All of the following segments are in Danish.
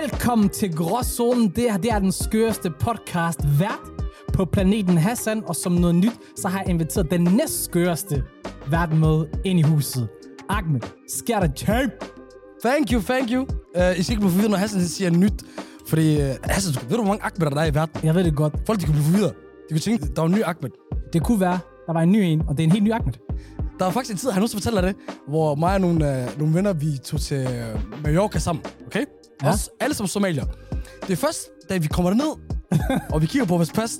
Velkommen til Gråzonen. Det her det er den skøreste podcast vært på planeten Hassan. Og som noget nyt, så har jeg inviteret den næstskøreste vært med ind i huset. Ahmed, sker der tape? Thank you, thank you. Uh, I skal ikke blive forvirret, når Hassan siger nyt. Fordi uh, Hassan, ved du, hvor mange Ahmed der er i verden? Jeg ved det godt. Folk, de kunne blive forvirret. De kunne tænke, der er en ny Ahmed. Det kunne være, der var en ny en, og det er en helt ny Ahmed. Der var faktisk en tid, han også fortæller det, hvor mig og nogle, øh, nogle venner, vi tog til øh, Mallorca sammen, okay? Ja. Ja. Også, alle som somalier. Det er først, da vi kommer derned, og vi kigger på vores pas,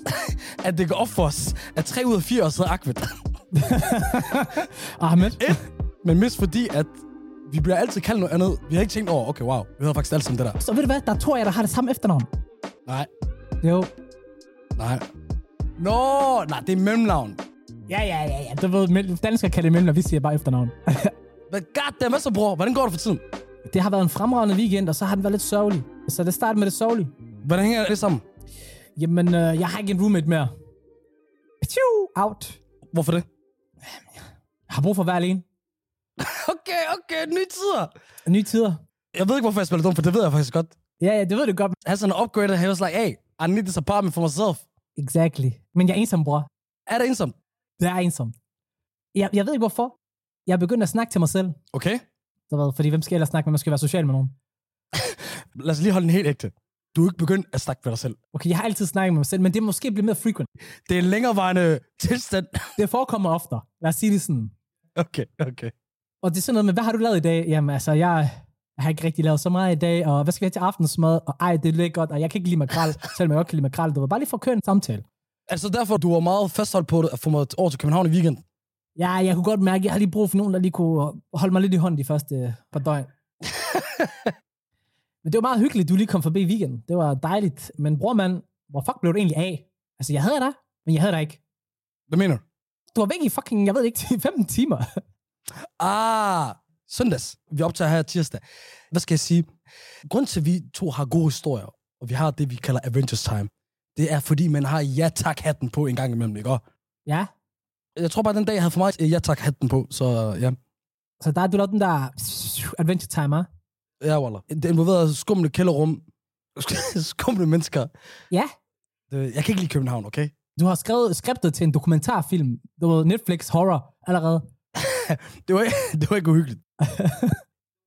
at det går op for os, at 3 ud af 4 os hedder Ahmed. Ahmed? Men mest fordi, at vi bliver altid kaldt noget andet. Vi har ikke tænkt over, okay, wow, vi hedder faktisk alt sammen det der. Så ved du hvad, der tror jeg, der har det samme efternavn. Nej, Jo. nej. Nå, nej, det er mellemnavn. Ja, ja, ja, ja. Du ved, mel- danskere kalder det mellem, og vi siger bare efternavn. Men goddamn, hvad så, bror? Hvordan går det for tiden? det har været en fremragende weekend, og så har den været lidt sørgelig. Så det starter med det sørgelige. Hvordan hænger det sammen? Jamen, øh, jeg har ikke en roommate mere. Piu, out. Hvorfor det? Jeg har brug for at være alene. Okay, okay, nye tider. Nye tider. Jeg ved ikke, hvorfor jeg spiller dum, for det ved jeg faktisk godt. Ja, ja, det ved du godt. Hassan er upgraded, he was like, hey, I need this apartment for myself. Exactly. Men jeg er ensom, bror. Er det ensomt? Det er ensomt. Jeg, jeg ved ikke, hvorfor. Jeg er begyndt at snakke til mig selv. Okay. Du ved, fordi hvem skal ellers snakke med? Man skal være social med nogen. Lad os lige holde den helt ægte. Du er ikke begyndt at snakke med dig selv. Okay, jeg har altid snakket med mig selv, men det er måske blevet mere frequent. Det er en længerevarende tilstand. Det forekommer oftere. Lad os sige det sådan. Okay, okay. Og det er sådan noget med, hvad har du lavet i dag? Jamen altså, jeg, jeg har ikke rigtig lavet så meget i dag, og hvad skal vi have til aftensmad? Og ej, det er lækkert, og jeg kan ikke lide makrel, selvom jeg godt kan lide makrel. Du ved, bare lige for at køre en samtale. Altså derfor, du var meget fastholdt på det, at få mig over til København i weekenden. Ja, jeg kunne godt mærke, at jeg har lige brug for nogen, der lige kunne holde mig lidt i hånden de første øh, par døgn. men det var meget hyggeligt, du lige kom forbi i weekenden. Det var dejligt. Men bror mand, hvor fuck blev det egentlig af? Altså, jeg havde dig, men jeg havde dig ikke. Hvad mener du? Du var væk i fucking, jeg ved ikke, 15 timer. Ah, søndags. Vi optager her tirsdag. Hvad skal jeg sige? Grunden til, at vi to har gode historier, og vi har det, vi kalder Avengers Time, det er, fordi man har ja tak hatten på en gang imellem, ikke? Og ja, Jeg tror bare, den dag, jeg havde for meget øh, ja tak hatten på, så ja. så der er du lavet den der adventure timer. Ja, Waller. Det involverede skumle kælderrum. skumle mennesker. Ja, Det, jeg kan ikke lide København, okay? du har skrevet skriptet til en dokumentarfilm. Du ved, Netflix horror allerede. Det var, ikke- det var ikke uhyggeligt.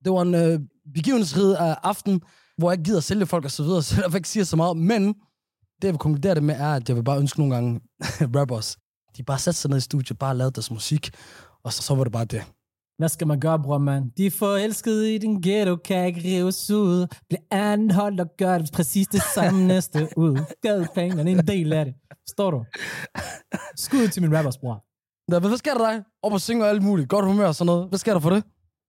det var en øh, begivenhedsrid af aften, hvor jeg ikke gider at sælge folk og så videre, så jeg ikke siger så meget. Men det, jeg vil konkludere det med, er, at jeg vil bare ønske nogle gange rappers, de bare satte sig ned i studiet, bare lavede deres musik, og så, så var det bare det. Hvad skal man gøre, bror, mand? De er forelskede i din ghetto, kan ikke rives ud. Bliv anholdt og gør det præcis det samme næste ud. Gadeplanerne er en del af det. Står du? Skud ud til min rappers, bror. Nå, Hvad hvad sker der dig? Op og synge og alt muligt. Godt humør og sådan noget. Hvad sker der for det?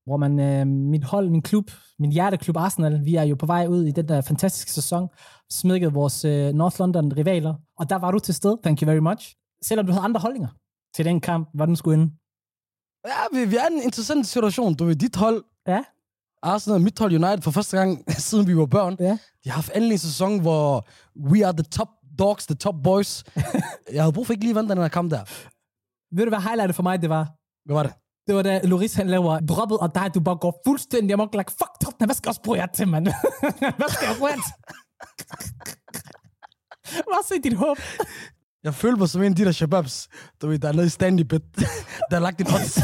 Bror, man, øh, mit hold, min klub, min hjerteklub Arsenal, vi er jo på vej ud i den der fantastiske sæson. Smækket vores øh, North London rivaler. Og der var du til stede, thank you very much. Selvom du havde andre holdninger til den kamp, hvor den skulle ende. Ja, vi, vi er i en interessant situation. Du ved, dit hold, Ja. Arsenal og mit hold United, for første gang siden vi var børn, Ja. de har haft endelig en sæson, hvor we are the top dogs, the top boys. jeg havde brug for ikke lige at vente den her kamp der. Ved du, hvad highlightet for mig det var? Hvad var det? Det var da Loris han laver droppet, og dig, du bare går fuldstændig amok, like, fuck Tottenham, hvad skal jeg også bruge jer til, mand? hvad skal jeg bruge jer til? Hvad se dit håb? Jeg følte mig som en af de der shababs, du ved, der er nede i stand bed, der har lagt en odds.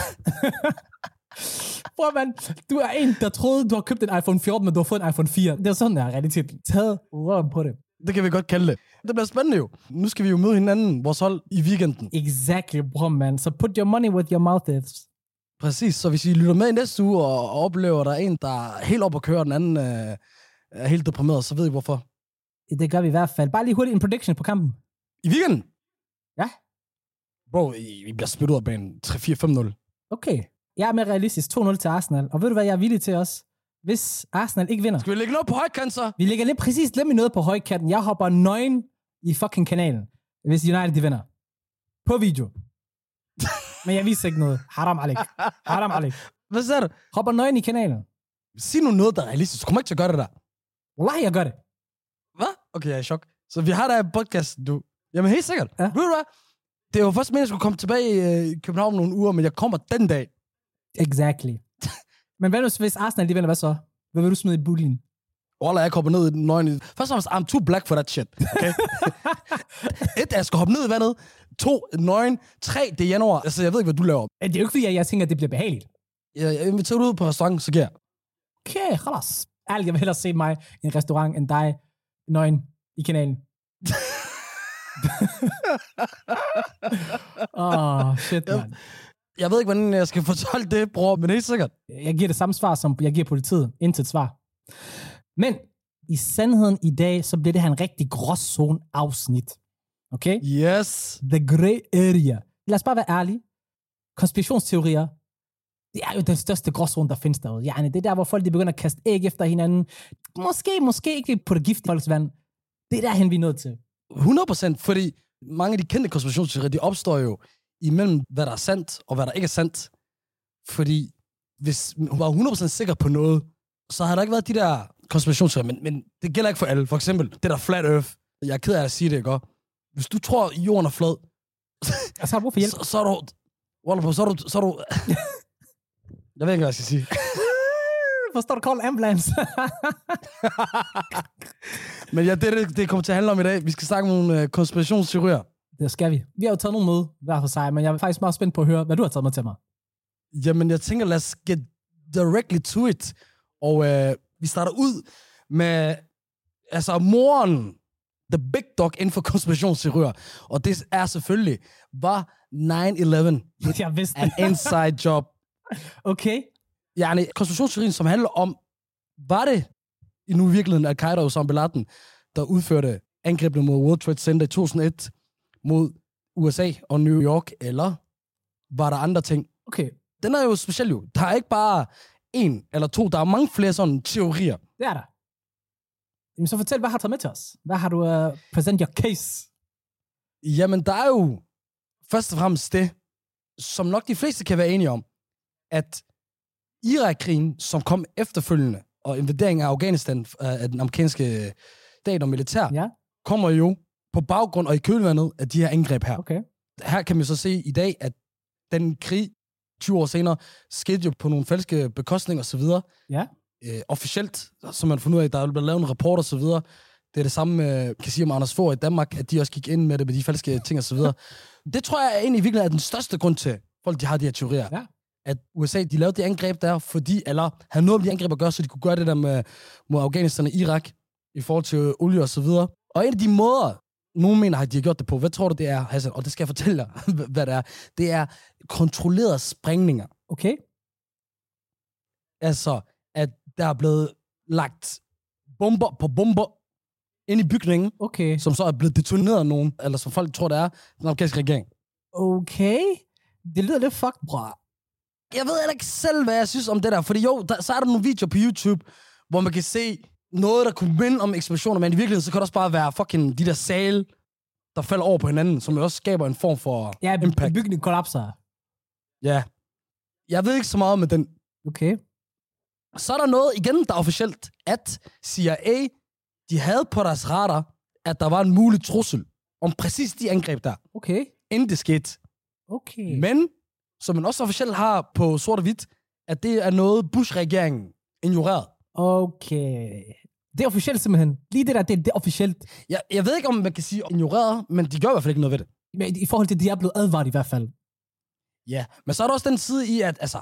Bror, mand, du er en, der troede, du har købt en iPhone 14, men du har fået en iPhone 4. Det er sådan, der er realiteten. Taget røven på det. det kan vi godt kalde det. Det bliver spændende jo. Nu skal vi jo møde hinanden, vores hold, i weekenden. Exactly, bror, mand. Så put your money with your mouth is. Præcis, så hvis I lytter med i næste uge og, og oplever, at der er en, der er helt op og kører, og den anden øh, er helt deprimeret, så ved I hvorfor. Det gør vi i hvert fald. Bare lige hurtigt en prediction på kampen. I weekenden? Ja. Bro, I, I bliver smidt ud af banen 3-4-5-0. Okay. Jeg er mere realistisk. 2-0 til Arsenal. Og ved du, hvad jeg er villig til os? Hvis Arsenal ikke vinder, Skal vi lægge noget på højkant så? Vi lægger lidt præcis lidt med noget på højkanten. Jeg hopper nøgen i fucking kanalen, hvis United de vinder. På video. Men jeg viser ikke noget. Haram Alek. Haram Alek. Hvad sagde du? Hopper nøgen i kanalen. Sig nu noget, der er realistisk. Du kommer ikke til at gøre det der. Wallahi, jeg gør det. Hvad? Okay, jeg er i chok. Så vi har dig i podcasten, du. Jamen helt sikkert. Ja. Ja. Ved du hvad? Det var først meningen, at jeg skulle komme tilbage øh, i København om nogle uger, men jeg kommer den dag. Exactly. Men hvad nu, hvis Arsenal de vinder, hvad så? Hvad vil du smide i buljen? Wallah, jeg kommer ned i den nøgne. Først og fremmest, I'm too black for that shit. Okay? Et, jeg skal hoppe ned i vandet. To, nøgen. Tre, det er januar. Altså, jeg ved ikke, hvad du laver. Eh, Det er jo ikke, fordi jeg, jeg tænker, at det bliver behageligt. Jeg, jeg inviterer dig ud på restauranten, så giver jeg. Okay, khalas. Ærligt, jeg vil hellere se mig i en restaurant end dig nøgen i kanalen. Åh, oh, shit, man. Jeg ved ikke, hvordan jeg skal fortolke det, bror, men helt sikkert. Jeg giver det samme svar, som jeg giver politiet. Intet svar. Men i sandheden i dag, så bliver det her en rigtig gråzone afsnit. Okay? Yes. The Grey Area. Lad os bare være ærlige. Konspirationsteorier, det er jo den største gråzone, der findes derude. Yani, det er der, hvor folk de begynder at kaste æg efter hinanden. Måske, måske ikke vil putte gift i folks vand. Det er derhen, vi er nået til. 100%, fordi mange af de kendte konspirationsteorier, de opstår jo imellem, hvad der er sandt og hvad der ikke er sandt. Fordi hvis hun var 100% sikker på noget, så havde der ikke været de der konspirationsteorier, men, men det gælder ikke for alle. For eksempel det der flat earth. Jeg er ked af at sige det, ikke? også? Hvis du tror, at jorden er flad, Og så har jeg brug for hjælp. så, så er du... Wallah, bro, så er du... Så er du jeg ved ikke, hvad jeg skal sige. Forstår du, call ambulance? Men ja, det er det, det kommer til at handle om i dag. Vi skal snakke om nogle øh, konspirationsteorier. det skal vi. Vi har jo taget nogle med hver for sig, men jeg er faktisk meget spændt på at høre, hvad du har taget med til mig. Jamen, jeg tænker, lad os get directly to it. Og øh, vi starter ud med, altså, moren, the big dog inden for konspirationsteorier. Og det er selvfølgelig, var 9-11 Jeg vidste an det. inside job? Okay. Ja, en konspirationsteorien, som handler om, var det i nu i virkeligheden Al-Qaida og Osama Bin Laden, der udførte angrebene mod World Trade Center i 2001 mod USA og New York, eller var der andre ting? Okay. den er jo speciel jo. Der er ikke bare en eller to, der er mange flere sådan teorier. Det er der. Jamen, så fortæl, hvad har du taget med til os? Hvad har du uh, present your case? Jamen, der er jo først og fremmest det, som nok de fleste kan være enige om, at Irak-krigen, som kom efterfølgende, og invaderingen af Afghanistan øh, af den amerikanske stat og militær, Ja. kommer jo på baggrund og i kølvandet af de her angreb her. Okay. her kan man så se i dag, at den krig 20 år senere skete jo på nogle falske bekostninger osv. Ja. Øh, officielt, som man fundet ud af, der er blevet lavet en rapport og så videre. Det er det samme, øh, kan sige om Anders Fogh i Danmark, at de også gik ind med det med de falske ting og så videre. det tror jeg egentlig virkelig er den største grund til, at folk de har de her teorier. Ja. At USA, de lavede det angreb der, fordi, eller havde noget med de angreb at gøre, så de kunne gøre det der med, mod Afghanistan og Irak, i forhold til øh, olie og så videre. Og en af de måder, nogen mener, at de har gjort det på. Hvad tror du, det er, Hassan? Og det skal jeg fortælle dig, hvad det er. Det er kontrollerede sprængninger. Okay. Altså, at der er blevet lagt bomber på bomber ind i bygningen, Okay. som så er blevet detoneret af nogen, eller som folk tror, det er, den amerikanske regering. Okay. Det lyder lidt fucked, bra. Jeg ved heller ikke selv, hvad jeg synes om det der, fordi jo, der, så er der nogle videoer på YouTube, hvor man kan se noget, der kunne minde om eksplosioner, men i virkeligheden, så kan det også bare være fucking de der sale, der falder over på hinanden, som jo også skaber en form for Ja, impact. bygningen kollapser. Ja. Jeg ved ikke så meget med den. Okay. Så er der noget igen, der er officielt, at CIA, de havde på deres radar, at der var en mulig trussel om præcis de angreb der, Okay. inden det skete. Okay. Men, som man også officielt har på sort og hvidt, at det er noget, Bush-regeringen ignorerede. Okay. Det er officielt simpelthen. Lige det der, det, det er officielt. Jeg, jeg ved ikke, om man kan sige ignoreret, men de gør i hvert fald ikke noget ved det. Men i forhold til, at de er blevet advaret i hvert fald. Ja, men så er der også den side i, at altså,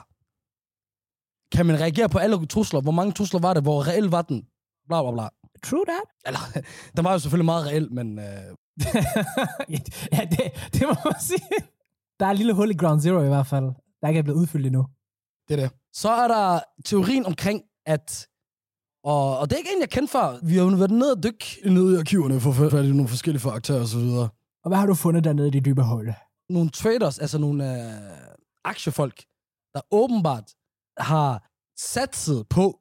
kan man reagere på alle trusler? Hvor mange trusler var det? Hvor reelt var den? Bla, bla, bla. True that. Eller, den var jo selvfølgelig meget reelt, men øh, ja, det, det må man sige. Der er et lille hul i Ground Zero i hvert fald, der ikke er blevet udfyldt endnu. Det er det. Så er der teorien omkring, at... Og, og det er ikke en, jeg kendte før. Vi har jo været nede og dykke ned i arkiverne for at fat i nogle forskellige faktorer og så videre. Og hvad har du fundet dernede i det dybe hul? Nogle traders, altså nogle øh, aktiefolk, der åbenbart har satset på,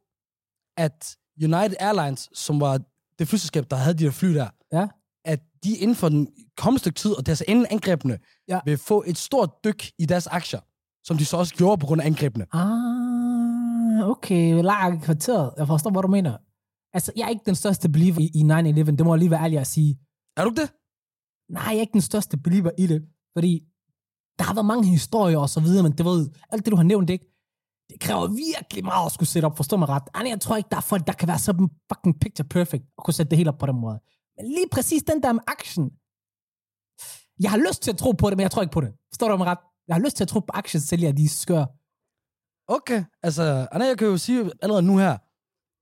at United Airlines, som var det flyselskab, der havde de her fly der, Ja. at de inden for den kommende stykke tid, og det er altså inden angrebene, Ja. vil få et stort dyk i deres aktier, som de så også gjorde på grund af angrebene. Ah, ah, okay, lag kvarteret. Jeg forstår, hvad du mener. Altså, jeg er ikke den største believer i, i 9-11. Det må jeg lige være ærlig at sige. Er du ikke det? Nej, jeg er ikke den største believer i det. Fordi der har været mange historier og så videre, men det ved, alt det, du har nævnt, ikke? Det kræver virkelig meget at skulle sætte op, forstå mig ret. Ej, jeg tror ikke, der er folk, der kan være så fucking picture perfect og kunne sætte det hele op på den måde. Men lige præcis den der med action. Jeg har lyst til at tro på det, men jeg tror ikke på det. Forstår du mig ret? Jeg har lyst til at tro på aktiesælgere, de er skøre. Okay. Altså, Anna, jeg kan jo sige allerede nu her.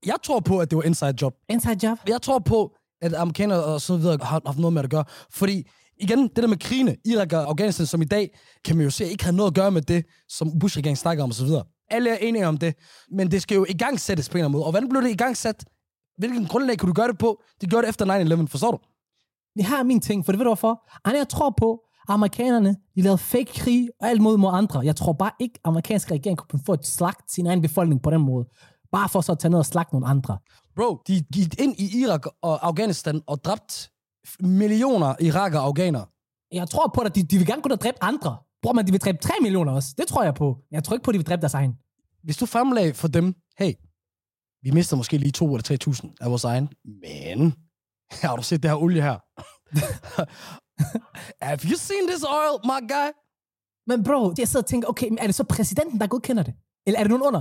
Jeg tror på, at det var inside job. Inside job? Jeg tror på, at amerikanere og så videre har haft noget med det at gøre. Fordi, igen, det der med krigene, Irak og Afghanistan, som i dag, kan man jo se, ikke har noget at gøre med det, som Bush-regeringen snakker om og så videre. Alle er enige om det, men det skal jo i gang sættes på en eller anden måde. Og hvordan blev det i gang sat? Hvilken grundlag kunne du gøre det på? Det gjorde det efter 9-11, forstår du? Det her er min ting, for det ved du hvorfor. Ej, jeg tror på, at amerikanerne de lavede fake krig og alt mod mod andre. Jeg tror bare ikke, at amerikanske regering kunne få et slagt sin egen befolkning på den måde. Bare for så at tage ned og slagte nogle andre. Bro, de gik ind i Irak og Afghanistan og dræbt millioner irakere og afghanere. Jeg tror på, at de, de vil gerne kunne dræbe andre. Bror, men de vil dræbe 3 millioner også. Det tror jeg på. Jeg tror ikke på, at de vil dræbe deres egen. Hvis du fremlagde for dem, hey, vi mister måske lige 2 eller 3.000 af vores egen, men har du set det her olie her? Have you seen this oil, my guy? Men bro, jeg sidder og tænker, okay, men er det så præsidenten, der godkender det? Eller er det nogen under?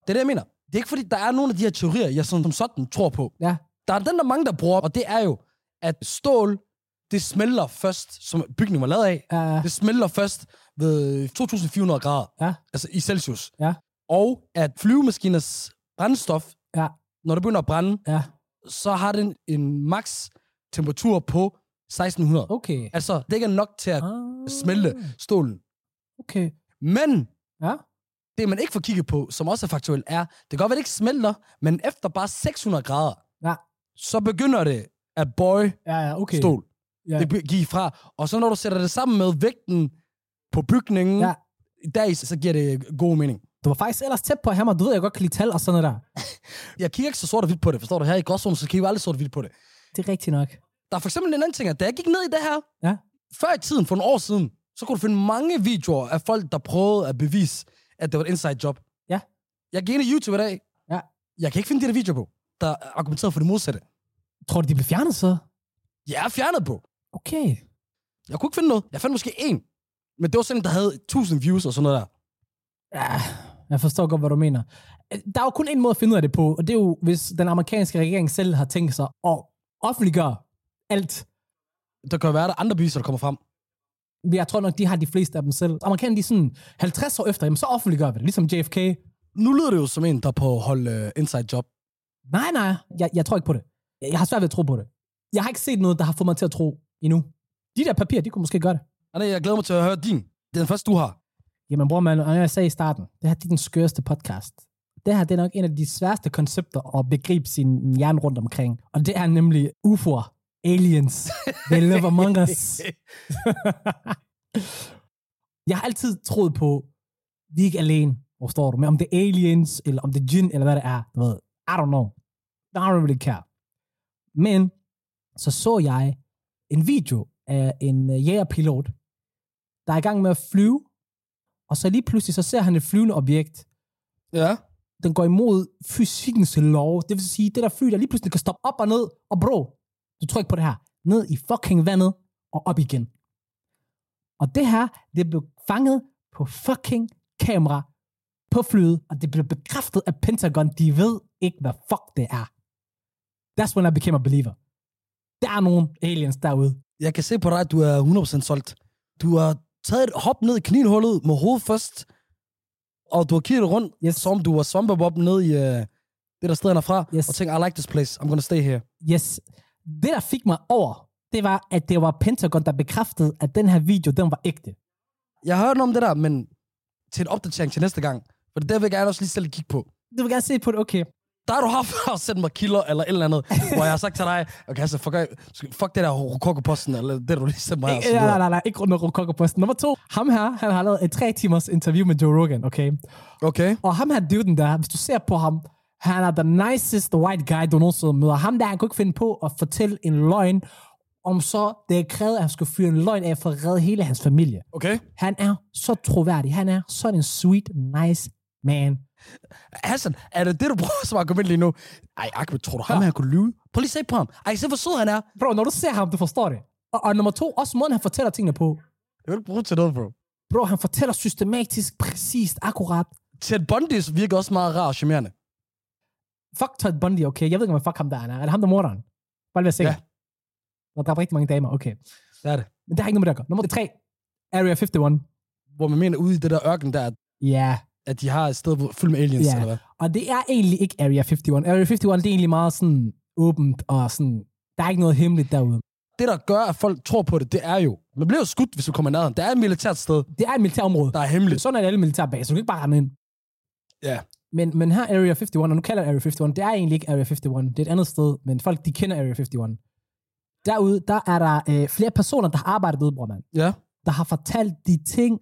Det er det, jeg mener. Det er ikke fordi, der er nogle af de her teorier, jeg som, som sådan tror på. Ja. Der er den, der er mange, der bruger, og det er jo, at stål, det smelter først, som bygningen var lavet af, Uh, det smelter først ved 2.400 grader, ja, altså i Celsius. Ja. Og at flyvemaskiners brændstof, Ja. når det begynder at brænde, ja. så har den en max temperatur på 1600. Okay. Okay. Altså, det ikke er nok til at Ah, smelte stålen. Okay. Men Ja. det, man ikke får kigget på, som også er faktuelt, er, det kan godt være, det ikke smelter, men efter bare 600 grader, Ja. så begynder det at bøje Ja, ja, okay. okay. stål. Ja. Ja. Det be- gik fra. Og så når du sætter det sammen med vægten på bygningen, Ja. ja. der i, så giver det god mening. Du var faktisk ellers tæt på at have mig. Du ved, jeg godt kan lide tal og sådan noget der. Jeg kigger ikke så sort og hvidt på det, forstår du? Her i gråzonen, så kigger vi aldrig sort og hvidt på det. Det er rigtigt nok. Der er for eksempel en anden ting, at da jeg gik ned i det her, Ja. før i tiden, for nogle år siden, så kunne du finde mange videoer af folk, der prøvede at bevise, at det var et inside job. Ja. Jeg gik ind i YouTube i dag. Ja. Jeg kan ikke finde de der videoer på, der argumenterer for det modsatte. Tror du, de blev fjernet så? Jeg er fjernet på. Okay. Jeg kunne ikke finde noget. Jeg fandt måske én. Men det var sådan en, der havde 1000 views og sådan noget der. Ja, jeg forstår godt, hvad du mener. Øh, Der er jo kun en måde at finde ud af det på, og det er jo, hvis den amerikanske regering selv har tænkt sig at offentliggøre alt. Der kan jo være, der er andre beviser, der kommer frem. Jeg tror nok, de har de fleste af dem selv. Amerikanerne, de er sådan 50 år efter, jamen så offentliggør vi det, ligesom JFK. Nu lyder det jo som en, der er på hold uh, inside job. Nej, nej, jeg, jeg tror ikke på det. Jeg, jeg har svært ved at tro på det. Jeg har ikke set noget, der har fået mig til at tro endnu. De der papirer, de kunne måske gøre det. Anna, jeg glæder mig til at høre din. Det er den første, du har. Jamen bror, man, og jeg sagde i starten, det her det er den skøreste podcast. Det her det er nok en af de sværeste koncepter at begribe sin hjerne rundt omkring. Og det er nemlig UFO'er, aliens, they live among us. jeg har altid troet på, vi er ikke alene, hvor står du, men om det er aliens, eller om det er djinn, eller hvad det er, du ved, I don't know. I don't really care. Men så så jeg en video af en øh, jægerpilot, der er i gang med at flyve, og så lige pludselig, så ser han et flyvende objekt, Ja. den går imod fysikkens lov. Det vil sige, det der fly, der lige pludselig kan stoppe op og ned, og bro, du tror ikke på det her. Ned i fucking vandet, og op igen. Og det her, det blev fanget på fucking kamera på flyet, og det blev bekræftet af Pentagon. De ved ikke, hvad fuck det er. That's when I became a believer. Der er nogle aliens derude. Jeg kan se på dig, at du er 100% solgt. Du har taget et hop ned i knienhullet med hovedet først, og du har kigget rundt, Yes. yes. som om du var svampebob ned i uh, det der sted, han er fra, Yes. yes. og tænker, I like this place, I'm gonna stay here. Yes. Det, der fik mig over, det var, at det var Pentagon, der bekræftede, at den her video, den var ægte. Jeg har hørt om det der, men til en opdatering til næste gang, for det der vil jeg gerne også lige selv kigge på. Du vil gerne se på det, okay. der har du haft at sende mig kilder eller et eller andet, hvor jeg har sagt til dig, okay, altså, fuck, fuck det der rokokoposten, eller det, du lige sendte mig. og så Ja, nej, videre. nej, nej, ikke rundt om Rokokoposten. Nummer to, ham her, han har lavet et tre timers interview med Joe Rogan, okay? Okay. Og ham her duden der, hvis du ser på ham, han er the nicest white guy, du nogensinde møder. Ham der, han kunne ikke finde på at fortælle en løgn, om så det er krævet, at han skulle fyre en løgn af for at redde hele hans familie. Okay. Han er så troværdig. Han er sådan en sweet, nice man. Hassan, er det det, du prøver som argument lige nu? Ej, Ahmed, tror du ham Ja. her kunne lyve? Prøv lige at se på ham. Ej, se hvor sød han er. Bro, når du ser ham, du forstår det. Og, og nummer to, også måden, han fortæller tingene på. Jeg vil ikke bruge til noget, bro. Bro, han fortæller systematisk, præcist, akkurat. Ted Bundy virker også meget rar og charmerende. Fuck Todd Bundy, okay? Jeg ved ikke, om jeg fuck ham der er. Er det ham, der morder han? Bare lige være sikker. Ja. Ja. Der dræber rigtig mange damer, okay. Det er det. Men det har ikke noget med det at gøre. Nummer tre, Area 51. Hvor man mener ude i det der ørken der, Ja, at de har et sted hvor- fyldt med aliens, Ja. yeah. eller hvad? og det er egentlig ikke Area 51. Area 51, det er egentlig meget sådan åbent, og sådan, der er ikke noget hemmeligt derude. Det, der gør, at folk tror på det, det er jo, man bliver jo skudt, hvis du kommer nærheden. Der er et militært sted, Det er et militærområde. der er hemmeligt. Sådan er det alle militærbaser. Du kan ikke bare rende ind. Ja. Men, men her Area 51, og nu kalder jeg Area 51, det er egentlig ikke Area 51, det er et andet sted, men folk, de kender Area 51. Derude, der er der øh, flere personer, der har arbejdet ude, bror mand, Ja. der har fortalt de ting,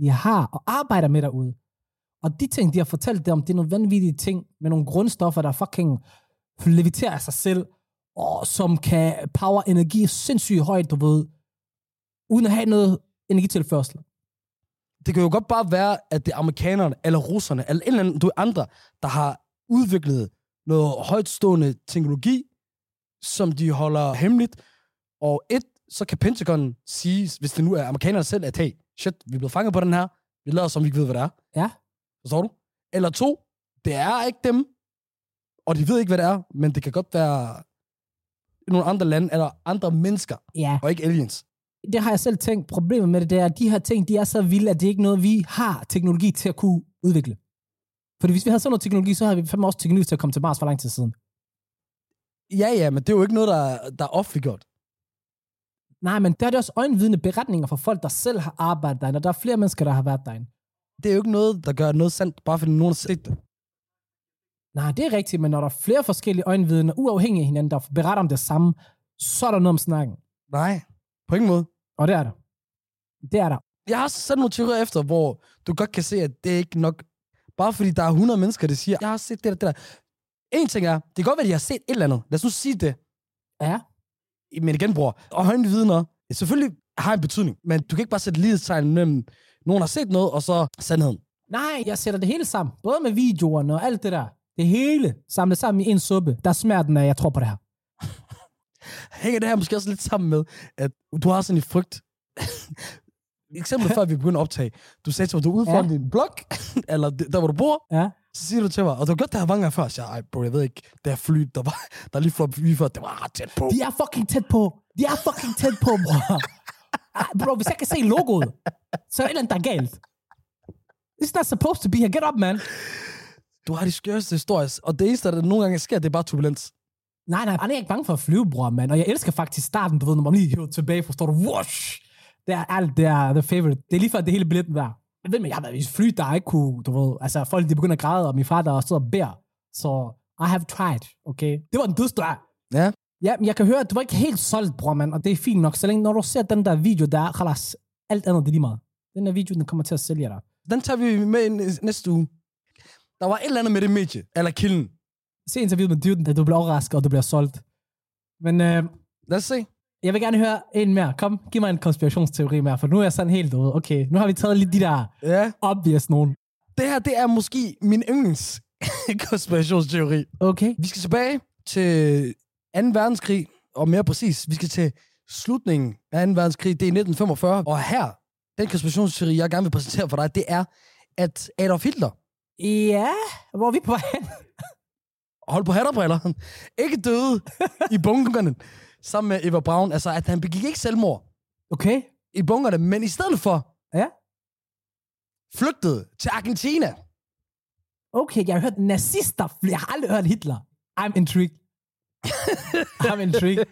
de har og arbejder med derude. Og de ting, de har fortalt dem, det er nogle vanvittige ting med nogle grundstoffer, der fucking leviterer af sig selv, og som kan power energi sindssygt højt, du ved, uden at have noget energitilførsel. Det kan jo godt bare være, at det er amerikanerne, eller russerne, eller en eller anden, du ved, andre, der har udviklet noget højtstående teknologi, som de holder hemmeligt. Og et, så kan Pentagon sige, hvis det nu er amerikanerne selv, at hey, shit, vi er blevet fanget på den her, vi lader som, vi ikke ved, hvad det er. Ja. Forstår du? Eller to, det er ikke dem, og de ved ikke, hvad det er, men det kan godt være nogle andre lande, eller andre mennesker, Ja, og ikke aliens. det har jeg selv tænkt. Problemet med det, det er, at de her ting, de er så vilde, at det ikke er noget, vi har teknologi til at kunne udvikle. Fordi hvis vi havde sådan noget teknologi, så havde vi fem års teknologi til at komme til Mars for lang tid siden. Ja, ja, men det er jo ikke noget, der, er- der er offentliggjort. Nej, men der er det også øjenvidende beretninger fra folk, der selv har arbejdet derinde, og der er flere mennesker, der har været derinde. det er jo ikke noget, der gør noget sandt, bare fordi nogen har set det. Nej, det er rigtigt, men når der er flere forskellige øjenvidner, uafhængige af hinanden, der beretter om det samme, så er der noget om snakken. Nej. På ingen måde. Og det er der. Det er der. Jeg har også sat nogle teorier efter, hvor du godt kan se, at det er ikke nok. Bare fordi der er 100 mennesker, der siger, jeg har set det der, det der. En ting er, det kan godt være, at de har set et eller andet. Lad os nu sige det. Ja. Men igen, bror, og højende vidner, selvfølgelig har en betydning, men du kan ikke bare sætte lidestegn mellem, nogen har set noget, og så sandheden. Nej, jeg sætter det hele sammen. Både med videoerne og alt det der. Det hele samlet sammen i en suppe. Der er smerten af, jeg tror på det her. Hænger det her måske også lidt sammen med, at du har sådan en frygt? Eksempel før vi begyndte at optage. Du sagde til mig, du er ude foran Ja. din blok, eller der, hvor du bor, Ja. Så siger du til mig, og du har gjort det her mange gange før. Så siger jeg, ej bro, jeg ved ikke, det her fly, der, var, der lige fløj forbi før, det var ret tæt på. De er fucking tæt på. De er fucking tæt på, bror. Ah, Bro, hvis jeg kan se logoet, så er der et eller andet, der er galt. It's not supposed to be here. Get up, man. Du har de skørste historier, og det eneste, der nogle gange sker, det er bare turbulens. Nej, nej, han er ikke bange for at flyve, bror, mand. Og jeg elsker faktisk starten, du ved, når man lige hiver tilbage, forstår du, whoosh! Det er alt, det er the favorite. Det er lige før, det hele billetten der. Jeg ved, men jeg har været i et fly, der ikke kunne, du ved, altså folk, de begynder at græde, og min far, der sidder og beder. Så I have tried, okay? Det var en dødsdør. Ja. Ja, men jeg kan høre, at du var ikke helt solgt, bror, mand, og det er fint nok, så længe når du ser den der video der, khalas, alt andet, det er lige meget. Den der video, den kommer til at sælge dig. Den tager vi med ind i næste uge. Der var et eller andet med det medie, eller kilden. Se interviewet med dyrten, da du bliver overrasket, og du bliver solgt. Men øh, Lad os se. Jeg vil gerne høre en mere. Kom, giv mig en konspirationsteori mere, for nu er jeg sådan helt ude. Okay, nu har vi taget lidt de der Ja. obvious nogen. Det her, det er måske min yndlings konspirationsteori. Okay. Vi skal tilbage til 2. verdenskrig, og mere præcis, vi skal til slutningen af 2. verdenskrig, det er 1945. Og her, den konspirationsteori, jeg gerne vil præsentere for dig, det er, at Adolf Hitler, Ja, hvor er vi på vej hen? hold på hatterbriller, ikke døde i bunkerne sammen med Eva Braun. Altså, at han begik ikke selvmord Okay. i bunkerne, men i stedet for Ja. flygtede til Argentina. Okay, jeg har hørt nazister. fly- Jeg har aldrig hørt Hitler. I'm intrigued. I'm intrigued.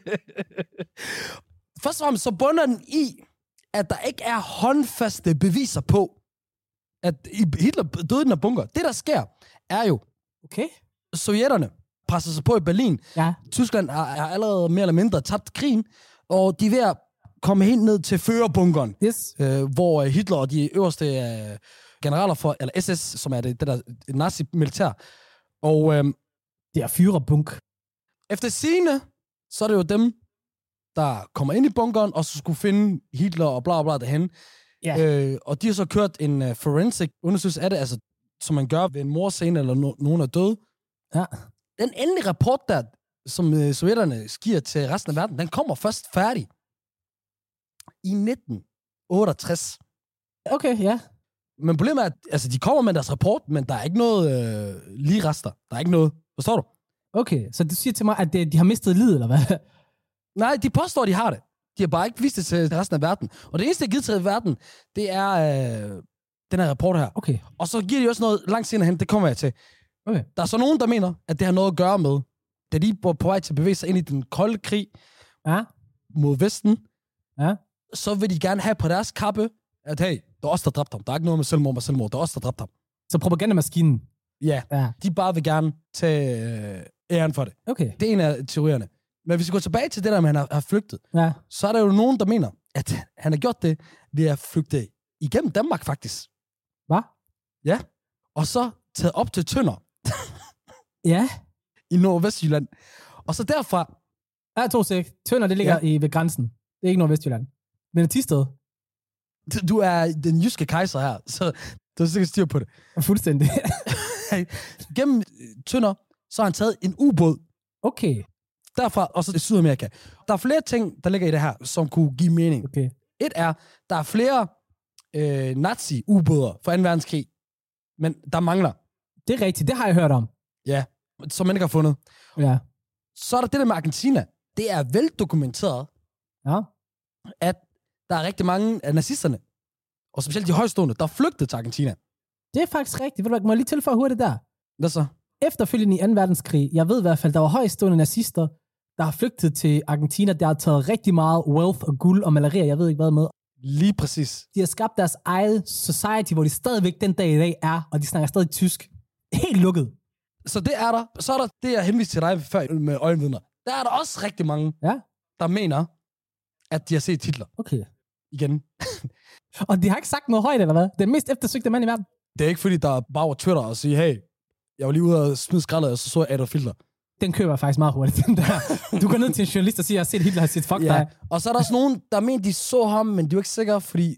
Først og fremmest så bunder den i, at der ikke er håndfaste beviser på, at Hitler døde i den her bunker. Det, der sker, er jo, Okay. sovjetterne presser sig på i Berlin. Ja. Tyskland har, har allerede mere eller mindre tabt krigen, og de er ved at komme helt ned til førerbunkeren, Yes. øh, hvor øh, Hitler og de øverste øh, generaler for, eller SS, som er det, det der nazi-militær, og øh, Det er fyrerbunk. efter sine, så er det jo dem, der kommer ind i bunkeren, og så skulle finde Hitler og bla bla derhen. Ja. Øh, og de har så kørt en uh, forensic øh, undersøgelse af det, altså som man gør ved en morscene, eller no- nogen er døde. Ja. Den endelige rapport, der, som øh, sovjetterne giver til resten af verden, den kommer først færdig i 1968. Okay, ja. Men problemet er, at altså, de kommer med deres rapport, men der er ikke noget øh, lige rester. Der er ikke noget. Forstår du? Okay, så du siger til mig, at det, de har mistet livet, eller hvad? Nej, de påstår, de har det. De har bare ikke vist det til resten af verden. Og det eneste, de har givet til verden, det er øh, den her rapport her. Okay, Og så giver de også noget langt senere hen, det kommer jeg til. Okay. Der er så nogen, der mener, at det har noget at gøre med, da de var på vej til at bevæge sig ind i den kolde krig ja. mod Vesten, Ja. så vil de gerne have på deres kappe, at hey, det er os, der dræbte ham. Der er ikke noget med selvmord med selvmord. Det er os, der dræbte ham. Så propagandamaskinen. Ja, Ja, de bare vil gerne tage øh, æren for det. okay. Det er en af teorierne. Men hvis vi går tilbage til det der med, at han har, har flygtet, Ja. så er der jo nogen, der mener, at han har gjort det ved at flygte igennem Danmark faktisk. Hvad? Ja. Og så taget op til Tønder Ja. i Nordvestjylland. Og så derfra, Ja, to sek. Tønder, det ligger ja. i, ved grænsen. Det er ikke Nordvestjylland. Men det er Tisted. d- du er den jyske kejser her, så du har sikkert styr på det. Fuldstændig. Gennem øh, Tønder, så har han taget en ubåd okay, derfra, og så til Sydamerika. Der er flere ting, der ligger i det her, som kunne give mening. okay. Et er, der er flere øh, nazi-ubåder fra 2. verdenskrig, men der mangler, Det er rigtigt. Det har jeg hørt om. som man ikke har fundet. Ja. Så er der det der med Argentina. Det er veldokumenteret, Ja. at der er rigtig mange af nazisterne, og specielt de højstående, der flygtede til Argentina. Det er faktisk rigtigt. Ved du hvad, må jeg lige tilføje hurtigt der? Hvad så? Efterfølgende i 2. verdenskrig, jeg ved i hvert fald, der var højstående nazister, der har flygtet til Argentina, der har taget rigtig meget wealth og guld og malerier, jeg ved ikke hvad med. Lige præcis. De har skabt deres eget society, hvor de stadigvæk den dag i dag er, og de snakker stadig tysk. Helt lukket. Så det er der. Så er der det, jeg henviste til dig før med øjenvidner. Der er der også rigtig mange, Ja. der mener, at de har set titler Okay. igen. Og de har ikke sagt noget højt, eller hvad? Den mest eftersøgte mand i verden. Det er ikke fordi, der er bare var Twitter og sige, hey, jeg var lige ude og smide skraldet, og så så jeg Adolf Hitler. Den køber jeg faktisk meget hurtigt, den der. Du går ned til en journalist og siger, jeg har set Hitler, jeg har set fuck dig. Og så er der også nogen, der mener, de så ham, men de er jo ikke sikre, fordi...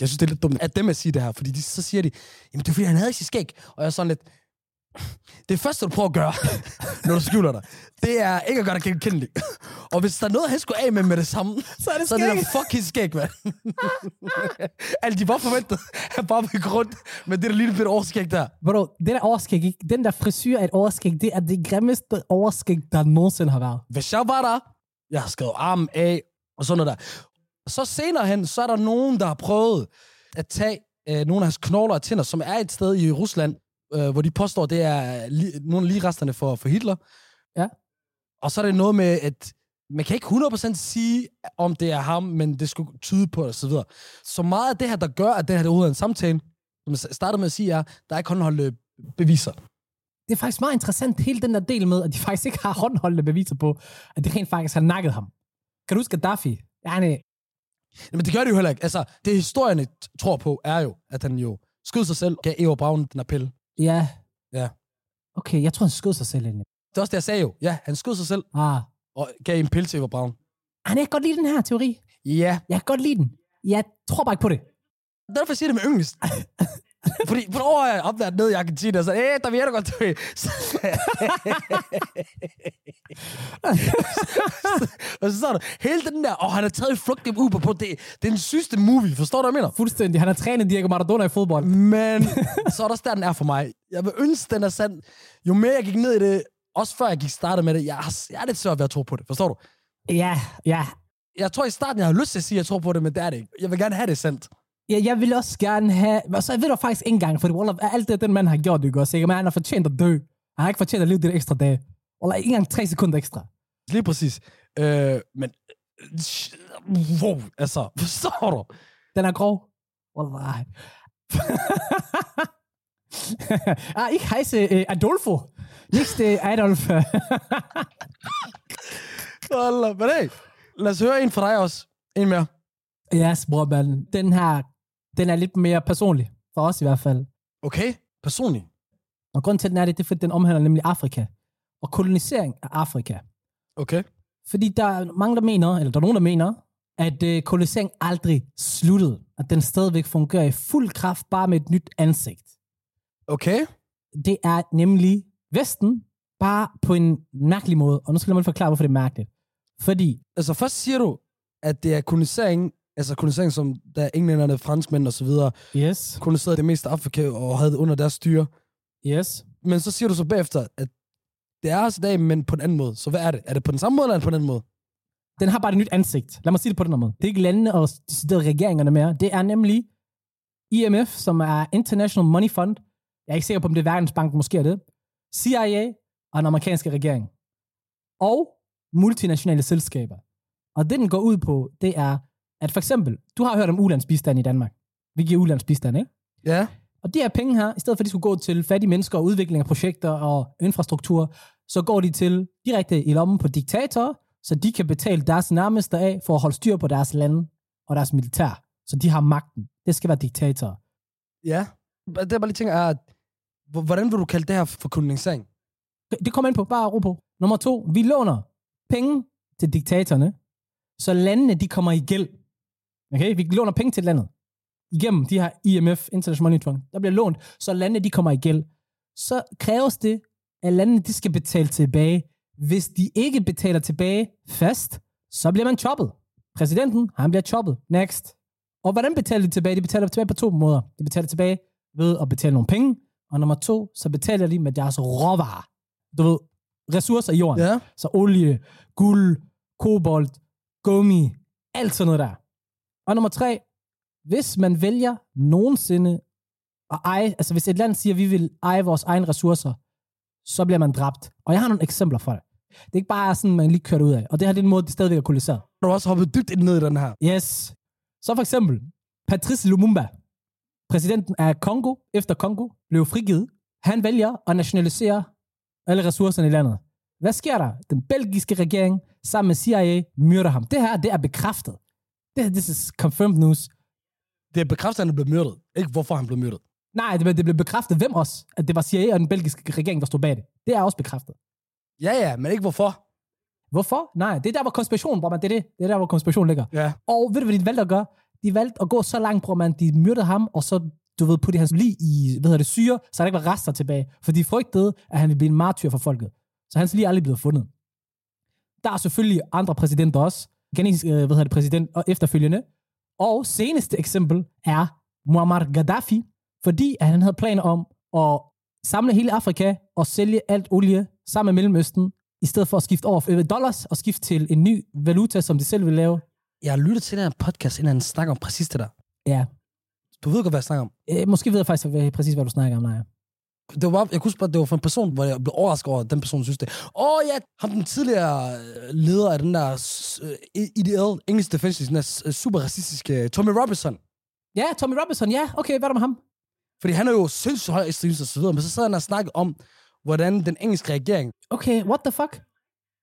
Jeg synes, det er lidt dumt, at dem at sige det her, fordi de, så siger de, jamen det er fordi, han havde ikke sit skæg. Og jeg er sådan lidt, det første, du prøver at gøre, når du skjuler dig, det er ikke at gøre dig genkendelig. Og hvis der er noget, han skulle af med med det samme, Så er det så er det skæg. der fucking skæg, mand. altså, de var forventet, han bare vil gå rundt med det der lille bitte overskæg der. Bro, det der overskæg, ikke? den der frisyr af et overskæg, det er det grimmeste overskæg, der nogensinde har været. hvis jeg var der, jeg har skrevet armen af, og sådan noget der. Så senere hen, så er der nogen, der har prøvet at tage øh, nogle af hans knogler og tænder, som er et sted i Rusland, øh, hvor de påstår, det er li- nogle af lige resterne for, for Hitler. Ja. Og så er det noget med, at man kan ikke 100% sige, om det er ham, men det skulle tyde på det, og så videre. Så meget af det her, der gør, at det her er en samtale, som jeg startede med at sige, er, der er ikke håndholdte beviser. Det er faktisk meget interessant, hele den der del med, at de faktisk ikke har håndholdte beviser på, at de rent faktisk har nakket ham. Kan du huske Gaddafi? Ja, nej. Men det gør det jo heller ikke. Altså, det historierne t- tror på, er jo, at han jo skød sig selv, gav Eva Braun den appel. Ja. Ja. Okay, jeg tror, han skød sig selv egentlig. Det er også det, jeg sagde jo. Ja, han skød sig selv Ah. og gav en pil til Eva Braun. Han jeg kan godt lide den her teori. Ja. Jeg kan godt lide den. Jeg tror bare ikke på det. Derfor siger jeg det med yndlist. Fordi, hvornår har jeg opdaget ned i Argentina, og så, æh, der vil jeg da godt dø. Så, og så, så er der hele den der, og han har taget i flugt gennem Uber på, det, det er den sygeste movie, forstår du, hvad jeg mener? Fuldstændig. Han har trænet Diego Maradona i fodbold. Men så er der også der, den er for mig. Jeg vil ønske, den er sand. Jo mere jeg gik ned i det, også før jeg gik startet med det, jeg, har, jeg er lidt svært ved at tro på det, forstår du? Ja, ja. Jeg tror i starten, jeg har lyst til at sige, at jeg tror på det, men det er det ikke. Jeg vil gerne have det sandt. Ja, jeg vil også gerne have... Og så ved du faktisk ikke engang, for Wallah, alt det, den mand har gjort, det går sikkert, men han har fortjent at dø. Han har ikke fortjent at leve den ekstra dag. Wallah, ikke engang tre sekunder ekstra. Lige præcis. Øh, men... Wow, altså, forstår du? Den er grov. Wallah. ah, ikke hejse uh, Adolfo. Nicht uh, Adolf. Hold men hey, lad os høre en fra dig også. En mere. yes, bror, man. Den her, den er lidt mere personlig. For os i hvert fald. Okay, personligt. Og grunden til, at den er det, det er, fordi den omhandler nemlig Afrika. Og kolonisering af Afrika. Okay. Fordi der er mange, der mener, eller der er nogen, der mener, at øh, kolonisering aldrig sluttede. At den stadigvæk fungerer i fuld kraft, bare med et nyt ansigt. Okay. Det er nemlig Vesten, bare på en mærkelig måde. Og nu skal jeg lige forklare, hvorfor det er mærkeligt. Fordi Altså først siger du, at det er kolonisering, altså kolonisering som da englænderne, franskmænd og så videre, Yes, koloniserede det meste af Afrika og havde det under deres styre. yes. Men så siger du så bagefter, at det er også i dag, men på en anden måde. Så hvad er det? Er det på den samme måde, eller er det på en anden måde? Den har bare et nyt ansigt. Lad mig sige det på den her måde. Det er ikke landene og deciderede regeringerne mere. Det er nemlig IMF, som er International Money Fund. Jeg er ikke sikker på, om det er Verdensbanken, måske er det. CIA og den amerikanske regering. Og multinationale selskaber. Og det, den går ud på, det er, at for eksempel, du har hørt om ulandsbistand i Danmark. Vi giver ulandsbistand, ikke? Ja. Og de her penge her, i stedet for at de skulle gå til fattige mennesker og udvikling af projekter og infrastruktur, så går de til direkte i lommen på diktatorer, så de kan betale deres nærmeste af for at holde styr på deres lande og deres militær. Så de har magten. Det skal være diktatorer. Ja. Det jeg bare lige tænker er, at h- hvordan vil du kalde det her for kolonisering? Det kommer ind på, bare ro på. Nummer to, vi låner penge til diktatorerne, så landene de kommer i gæld. Okay, vi låner penge til landet. Igennem de her IMF, International Money Fund, der bliver lånt, så landene de kommer i gæld. Så kræves det, at landene de skal betale tilbage. Hvis de ikke betaler tilbage fast, så bliver man choppet. Præsidenten, han bliver choppet. Next. Og hvordan betaler de tilbage? De betaler tilbage på to måder. De betaler tilbage ved at betale nogle penge, og nummer to, så betaler de med deres råvarer. Du ved, ressourcer i jorden. Ja. Så olie, guld, kobolt, gummi, alt sådan noget der. Og nummer tre, hvis man vælger nogensinde at eje, altså hvis et land siger, at vi vil eje vores egne ressourcer, så bliver man dræbt. Og jeg har nogle eksempler for det. Det er ikke bare sådan, man lige kører det ud af. Og det her det er en måde, det stadigvæk er koloniseret. Du har også hoppet dybt ind ned i den her. Yes. Så for eksempel, Patrice Lumumba, præsidenten af Kongo, efter Kongo, blev frigivet. Han vælger at nationalisere alle ressourcerne i landet. Hvad sker der? Den belgiske regering sammen med CIA myrder ham. Det her, det er bekræftet. Det her, this is confirmed news. Det er bekræftet, at han blev myrdet. Ikke hvorfor han blev myrdet. Nej, det, det blev bekræftet. Hvem også? At det var CIA og den belgiske regering, der stod bag det. Det er også bekræftet. Ja, ja, men ikke hvorfor. Hvorfor? Nej, det er der, hvor konspirationen, bror man. Det er det. Det er der, hvor konspirationen ligger. Ja. Og ved du, hvad de valgte at gøre? De valgte at gå så langt, bror man, de myrdede ham, og så, du ved, putte hans lig i, hvad hedder det, syre, så der ikke var rester tilbage. For de frygtede, at han ville blive en martyr for folket. Så hans lig er aldrig blevet fundet. Der er selvfølgelig andre præsidenter også. Ghanesisk, øh, hvad hedder det, præsident og efterfølgende. Og seneste eksempel er Muammar Gaddafi, fordi at han havde planer om at samle hele Afrika og sælge alt olie sammen med Mellemøsten, i stedet for at skifte over øh, dollars og skifte til en ny valuta, som de selv vil lave. Jeg har lyttet til den her podcast, inden han snakker om præcis det der. Ja, Du ved godt, hvad jeg snakker om. Øh, måske ved jeg faktisk hvad, præcis, hvad du snakker om, nej. det var bare, jeg kunne huske bare, det var for en person, hvor jeg blev overrasket over, at den person synes det. Åh ja, ham den tidligere øh, leder af den der s- øh, ideelle English Defense, den der s- øh, super racistiske Tommy Robinson. Ja, Tommy Robinson, ja. Okay, hvad er der med ham? Fordi han er jo sindssygt høj ekstremist og så videre, men så sad han og snakkede om, hvordan den engelske regering... Okay, what the fuck?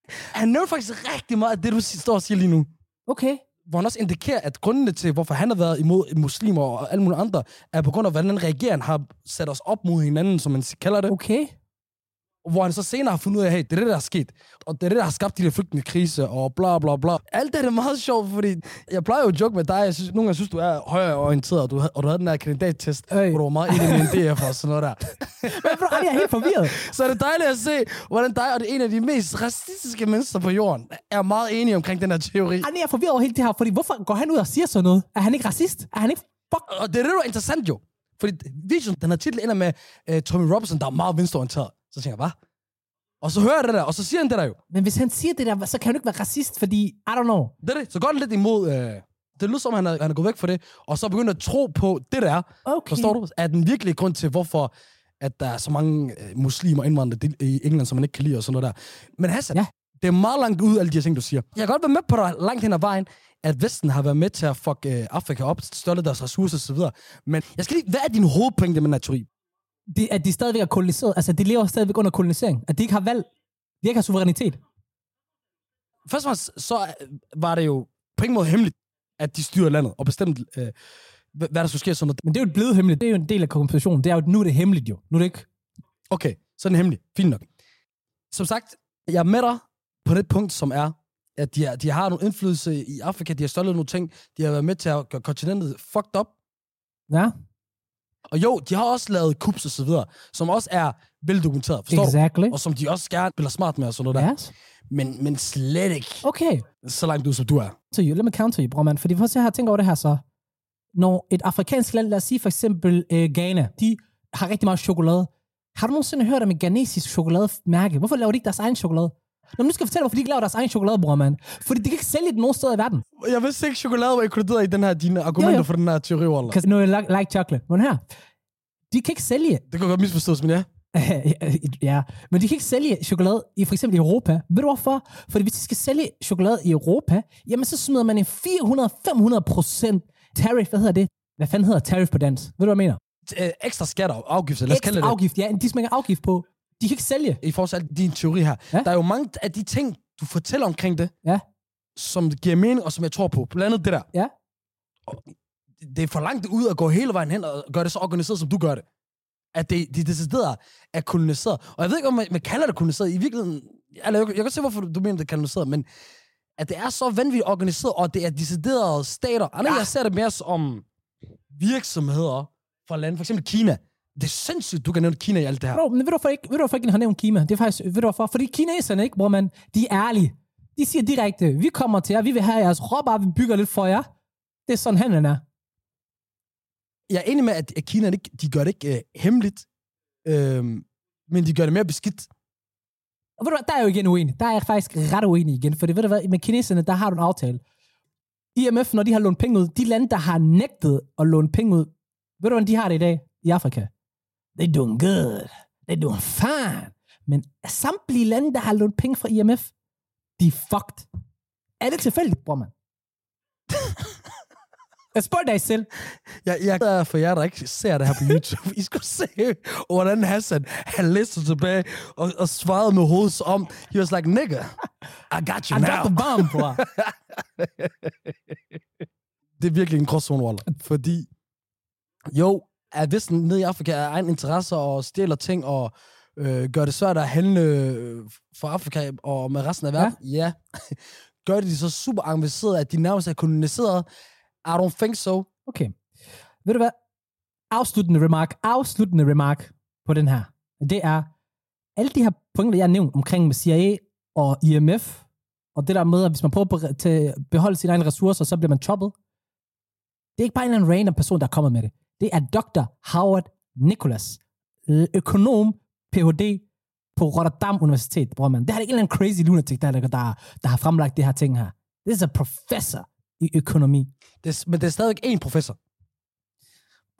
Han nævnte faktisk rigtig meget af det, du si- står og siger lige nu. Okay. Hvor han også indikerer, at grundene til, hvorfor han har været imod muslimer og alle mulige andre, er på grund af, hvordan den regering har sat os op mod hinanden, som man kalder det. Okay. hvor han så senere har fundet ud af, hey, det er det, der er sket. Og det er det, der har skabt de der flygtningekrise, og bla bla bla. Alt det her, det er meget sjovt, fordi jeg plejer jo at joke med dig. Jeg synes, nogle gange synes, du er højere orienteret, og du, havde- og du havde den der kandidattest, Øj. hvor du var meget enig med en DF og sådan noget der. Men bro, jeg er helt forvirret. Så er det dejligt at se, hvordan dig og det en af de mest racistiske mennesker på jorden er meget enige omkring den her teori. Han er forvirret over hele det her, fordi hvorfor går han ud og siger sådan noget? Er han ikke racist? Er han ikke fuck? Og det er det, der er interessant jo. Fordi videoen, den her titel ender med uh, Tommy Robinson, der er meget venstreorienteret. Så tænker jeg, hvad? Og så hører jeg det der, og så siger han det der jo. Men hvis han siger det der, så kan han jo ikke være racist, fordi, I don't know. Det er det. Så går han lidt imod... Øh, det lyder som, han er, han er gået væk fra det, og så begynder at tro på det der. Okay. Forstår du? Er den virkelige grund til, hvorfor at der er så mange øh, muslimer og indvandrere i England, som man ikke kan lide og sådan noget der. Men Hassan, Ja. ja. det er meget langt ud af alle de her ting, du siger. Jeg kan godt være med på dig langt hen ad vejen, at Vesten har været med til at fuck øh, Afrika op, stolte deres ressourcer osv. Men jeg skal lige, hvad er din hovedpointe med den her teori? Det, at de stadigvæk er koloniseret, altså de lever stadigvæk under kolonisering. At de ikke har valg. De ikke har suverænitet. Først og fremmest, så øh, var det jo på ingen måde hemmeligt, at de styrede landet og bestemte, øh, hvad hvad der skulle ske og sådan noget. Men det er jo et blevet hemmeligt. Det er jo en del af kompensationen. Det er jo, nu er det hemmeligt jo. Nu er det ikke... Okay, så er den hemmelig. Fint nok. Som sagt, jeg er med dig på det punkt, som er, at de, er, de har nogle indflydelse i Afrika, de har stjålet nogle ting, de har været med til at gøre kontinentet fucked up, Ja, Og jo, de har også lavet kups og så videre, som også er veldokumenteret, forstår Exactly. du? Og som de også gerne spiller smart med og sådan noget der. Yes. Men, men slet ikke Okay. så langt ud, som du er. to you. Lad mig counter you, bror, mand. Fordi for at se her, tænk over det her så. Når et afrikansk land, lad os sige for eksempel øh, Ghana, de har rigtig meget chokolade. Har du nogensinde hørt om et ghanesisk chokolademærke? Hvorfor laver de ikke deres egen chokolade? Nå, men nu skal jeg fortælle, hvorfor de ikke laver deres egen chokolade, bror, mand. Fordi de kan ikke sælge det nogen steder i verden. Jeg vidste ikke, chokolade var inkluderet i den her, dine argumenter Jo, jo, jo. jo. for den her teori, Waller. Because no, I like, like chocolate. Men her, de kan ikke sælge Det kan godt misforstås, men ja. ja, men de kan ikke sælge chokolade i for eksempel Europa. Ved du hvorfor? Fordi hvis de skal sælge chokolade i Europa, jamen så smider man en 400-500 procent tariff. Hvad hedder det? Hvad fanden hedder tariff på dansk? Ved du, hvad jeg mener? Øh, ekstra skatter og afgifter, lad os kalde det det. afgift. Ja, de smækker afgift på. De kan ikke sælge. i forhold til al din teori her. Ja. Ja? Der er jo mange af de ting, du fortæller omkring det, Ja. som giver mening, og som jeg tror på. Blandt andet det der. Ja. Og det er for langt ud at gå hele vejen hen og gøre det så organiseret, som du gør det. At det, de decideret er koloniseret. Og jeg ved ikke, om man, man kalder det koloniseret. I virkeligheden, eller jeg, jeg kan godt se, hvorfor du mener, det er koloniseret, men at det er så vanvittigt organiseret, og det er deciderede stater. Og ja. Ja. jeg ser det mere som virksomheder fra lande, for eksempel Kina. Det er sindssygt, du kan nævne Kina i alt det her. Bro, men ved du hvorfor ikke, ved du hvorfor ikke den har nævnt Kina? Det er faktisk, ved du hvorfor? Fordi kineserne, ikke, bror man, de er ærlige. De siger direkte, vi kommer til jer, vi vil have jeres råvarer, vi bygger lidt for jer. Det er sådan, handlen er. jeg er enig med, at at Kina ikke, de gør det ikke øh, hemmeligt, øh, men de gør det mere beskidt. Og ved du hvad, der er jeg jo igen uenig. Der er jeg faktisk ret uenig igen, for det ved du hvad, med kineserne, der har du en aftale. IMF, når de har lånt penge ud, de lande, der har nægtet at låne penge ud, ved du hvordan de har det i dag i Afrika? They doing good. They doing fine. Men samtlige lande, der har lånt penge fra IMF, de er fucked. Er det tilfældigt, bror man? Jeg spørger dig selv. Jeg, jeg er glad for jer, der ikke ser det her på YouTube. I skulle se, hvordan Hassan han læste tilbage og, og svarede med hovedet som om, he was like, nigga, I got you I I now. got the bomb, bror. det er virkelig en gråzone, Waller. Fordi, jo, er Vesten nede i Afrika af egen interesse og stjæler ting og øh, gør det svært at handle øh, for Afrika og med resten af verden? Ja. ja. gør de det så super engageret, at de nærmest er koloniseret? I don't think so. Okay. Ved du hvad? Afsluttende remark, afsluttende remark på den her, det er, alle de her punkter, jeg har nævnt omkring med CIA og IMF, og det der med, at hvis man prøver at bere- til- beholde sine egne ressourcer, så bliver man choppet. Det er ikke bare en eller anden random person, der er kommet med det. Det er Dr. Howard Nicholas, øh, økonom, Ph.D. på Rotterdam Universitet, bror man. Det er ikke en eller anden crazy lunatic, der, der, der, der har fremlagt det her ting her. This is a professor i økonomi. Det, er s- men det er stadigvæk én professor.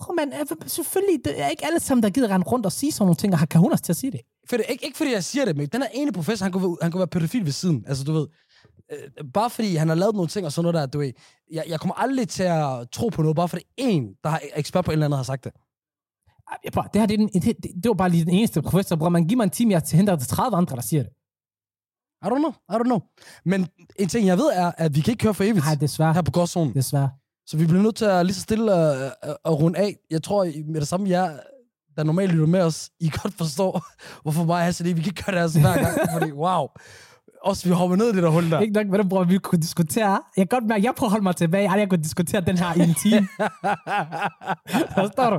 Prøv man, selvfølgelig, det er ikke alle sammen, der gider rende rundt og sige sådan nogle ting, og har kahunas til at sige det. For det, ikke, ikke fordi jeg siger det, men den her ene professor, han kunne, være- han kunne være pædofil ved siden. Altså, du ved. Øh, bare fordi han har lavet nogle ting og sådan noget der, du ved. Jeg, jeg kommer aldrig til at tro på noget, bare fordi en, der er ekspert på et eller andet, har sagt det. Ej, Jeg prøver, det her det, er den, det, det, det var bare lige den eneste professor, bror. Man giver mig en time, jeg henter 30 andre, der siger det. I don't know, I don't know. Men en ting, jeg ved, er, at vi kan ikke køre for evigt Nej, desværre. her på Gårdzonen. Desværre. Så vi bliver nødt til at lige så stille og, og, og runde af. Jeg tror I- med det samme, jer, der normalt lytter med os, I godt forstår, hvorfor mig og Hassan, vi kan ikke gøre det her så hver gang. fordi, wow. Også vi hopper ned i det der hul der. Ikke nok med det, bror, vi kunne diskutere. Jeg kan godt mærke, jeg prøver at holde mig tilbage. Ej, jeg kunne diskutere den her i en time. Forstår du?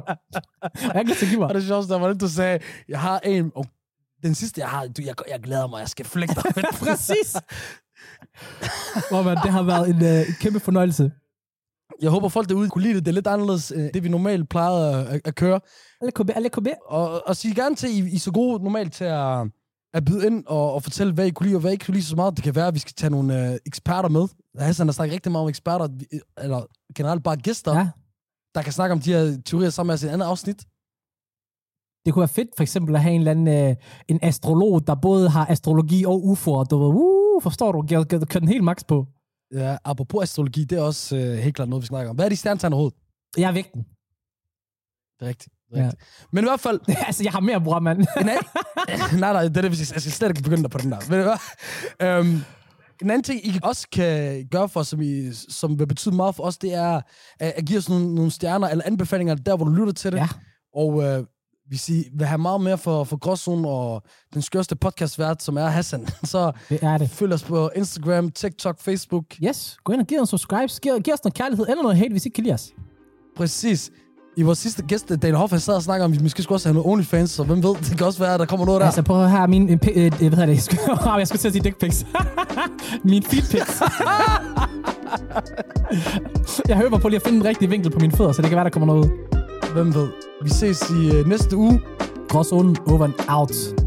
Og Jeg kan ikke give mig. og det sjoveste, der var lidt, du sagde, jeg har en, og den sidste, jeg har, du, jeg, jeg glæder mig, jeg skal flække dig. med den. Præcis. Bror, man, det har været en øh, kæmpe fornøjelse. jeg håber, folk derude kunne lide det. Det er lidt anderledes, øh, det vi normalt plejede at, at køre. Alle KB, alle KB. Og, og sig gerne til, I, I er så gode normalt til at, at byde ind og, og fortælle, hvad I kunne lide, og hvad I ikke kunne lide så meget. Det kan være, at vi skal tage nogle øh, eksperter med. Hassan har snakket rigtig meget om eksperter, at vi- eller generelt bare gæster, Ja. ja. der kan snakke om de her teorier sammen med os i et andet afsnit. Det kunne være fedt for eksempel at have en eller anden øh, en astrolog, der både har astrologi og UFO'er. Du ved, uh, forstår du? Gør, gør, gør den helt max på. Ja, apropos astrologi, det er også øh, helt klart noget, vi snakker om. Hvad er de stjernetegn overhovedet? Jeg er vægten. Det er rigtigt. Det er rigtigt. Ja. Men i hvert fald, altså, jeg har mere bror, mand. en anden... nej, nej, det er det, vi skal- jeg skal slet ikke begynde dig på den der. Ved du hvad? Øhm, en anden ting, I også kan gøre for os, som, I, som vil betyde meget for os, det er at, at give os nogle, nogle stjerner eller anbefalinger, der hvor du lytter til det. Ja. Og øh, hvis I vil have meget mere for, for Gråzonen og den skørste podcastvært, som er Hassan, så det er det. følg os på Instagram, TikTok, Facebook. Yes, gå ind og giv os en subscribe. Giv, giv os noget kærlighed eller noget hate, hvis I ikke kan lide os. Præcis. I vores sidste gæst, Dan Hoff, han sad og snakkede om, at vi måske skulle også have noget OnlyFans, så hvem ved, det kan også være, at der kommer noget der. Altså, prøv at høre her, min... Øh, pi- øh, hvad hedder det? Jeg skulle, jeg skulle til at sige dick pics. min feet pics. jeg høber på lige at finde den rigtige vinkel på mine fødder, så det kan være, der kommer noget. Hvem ved. Vi ses i øh, næste uge. Gråzonen over and out.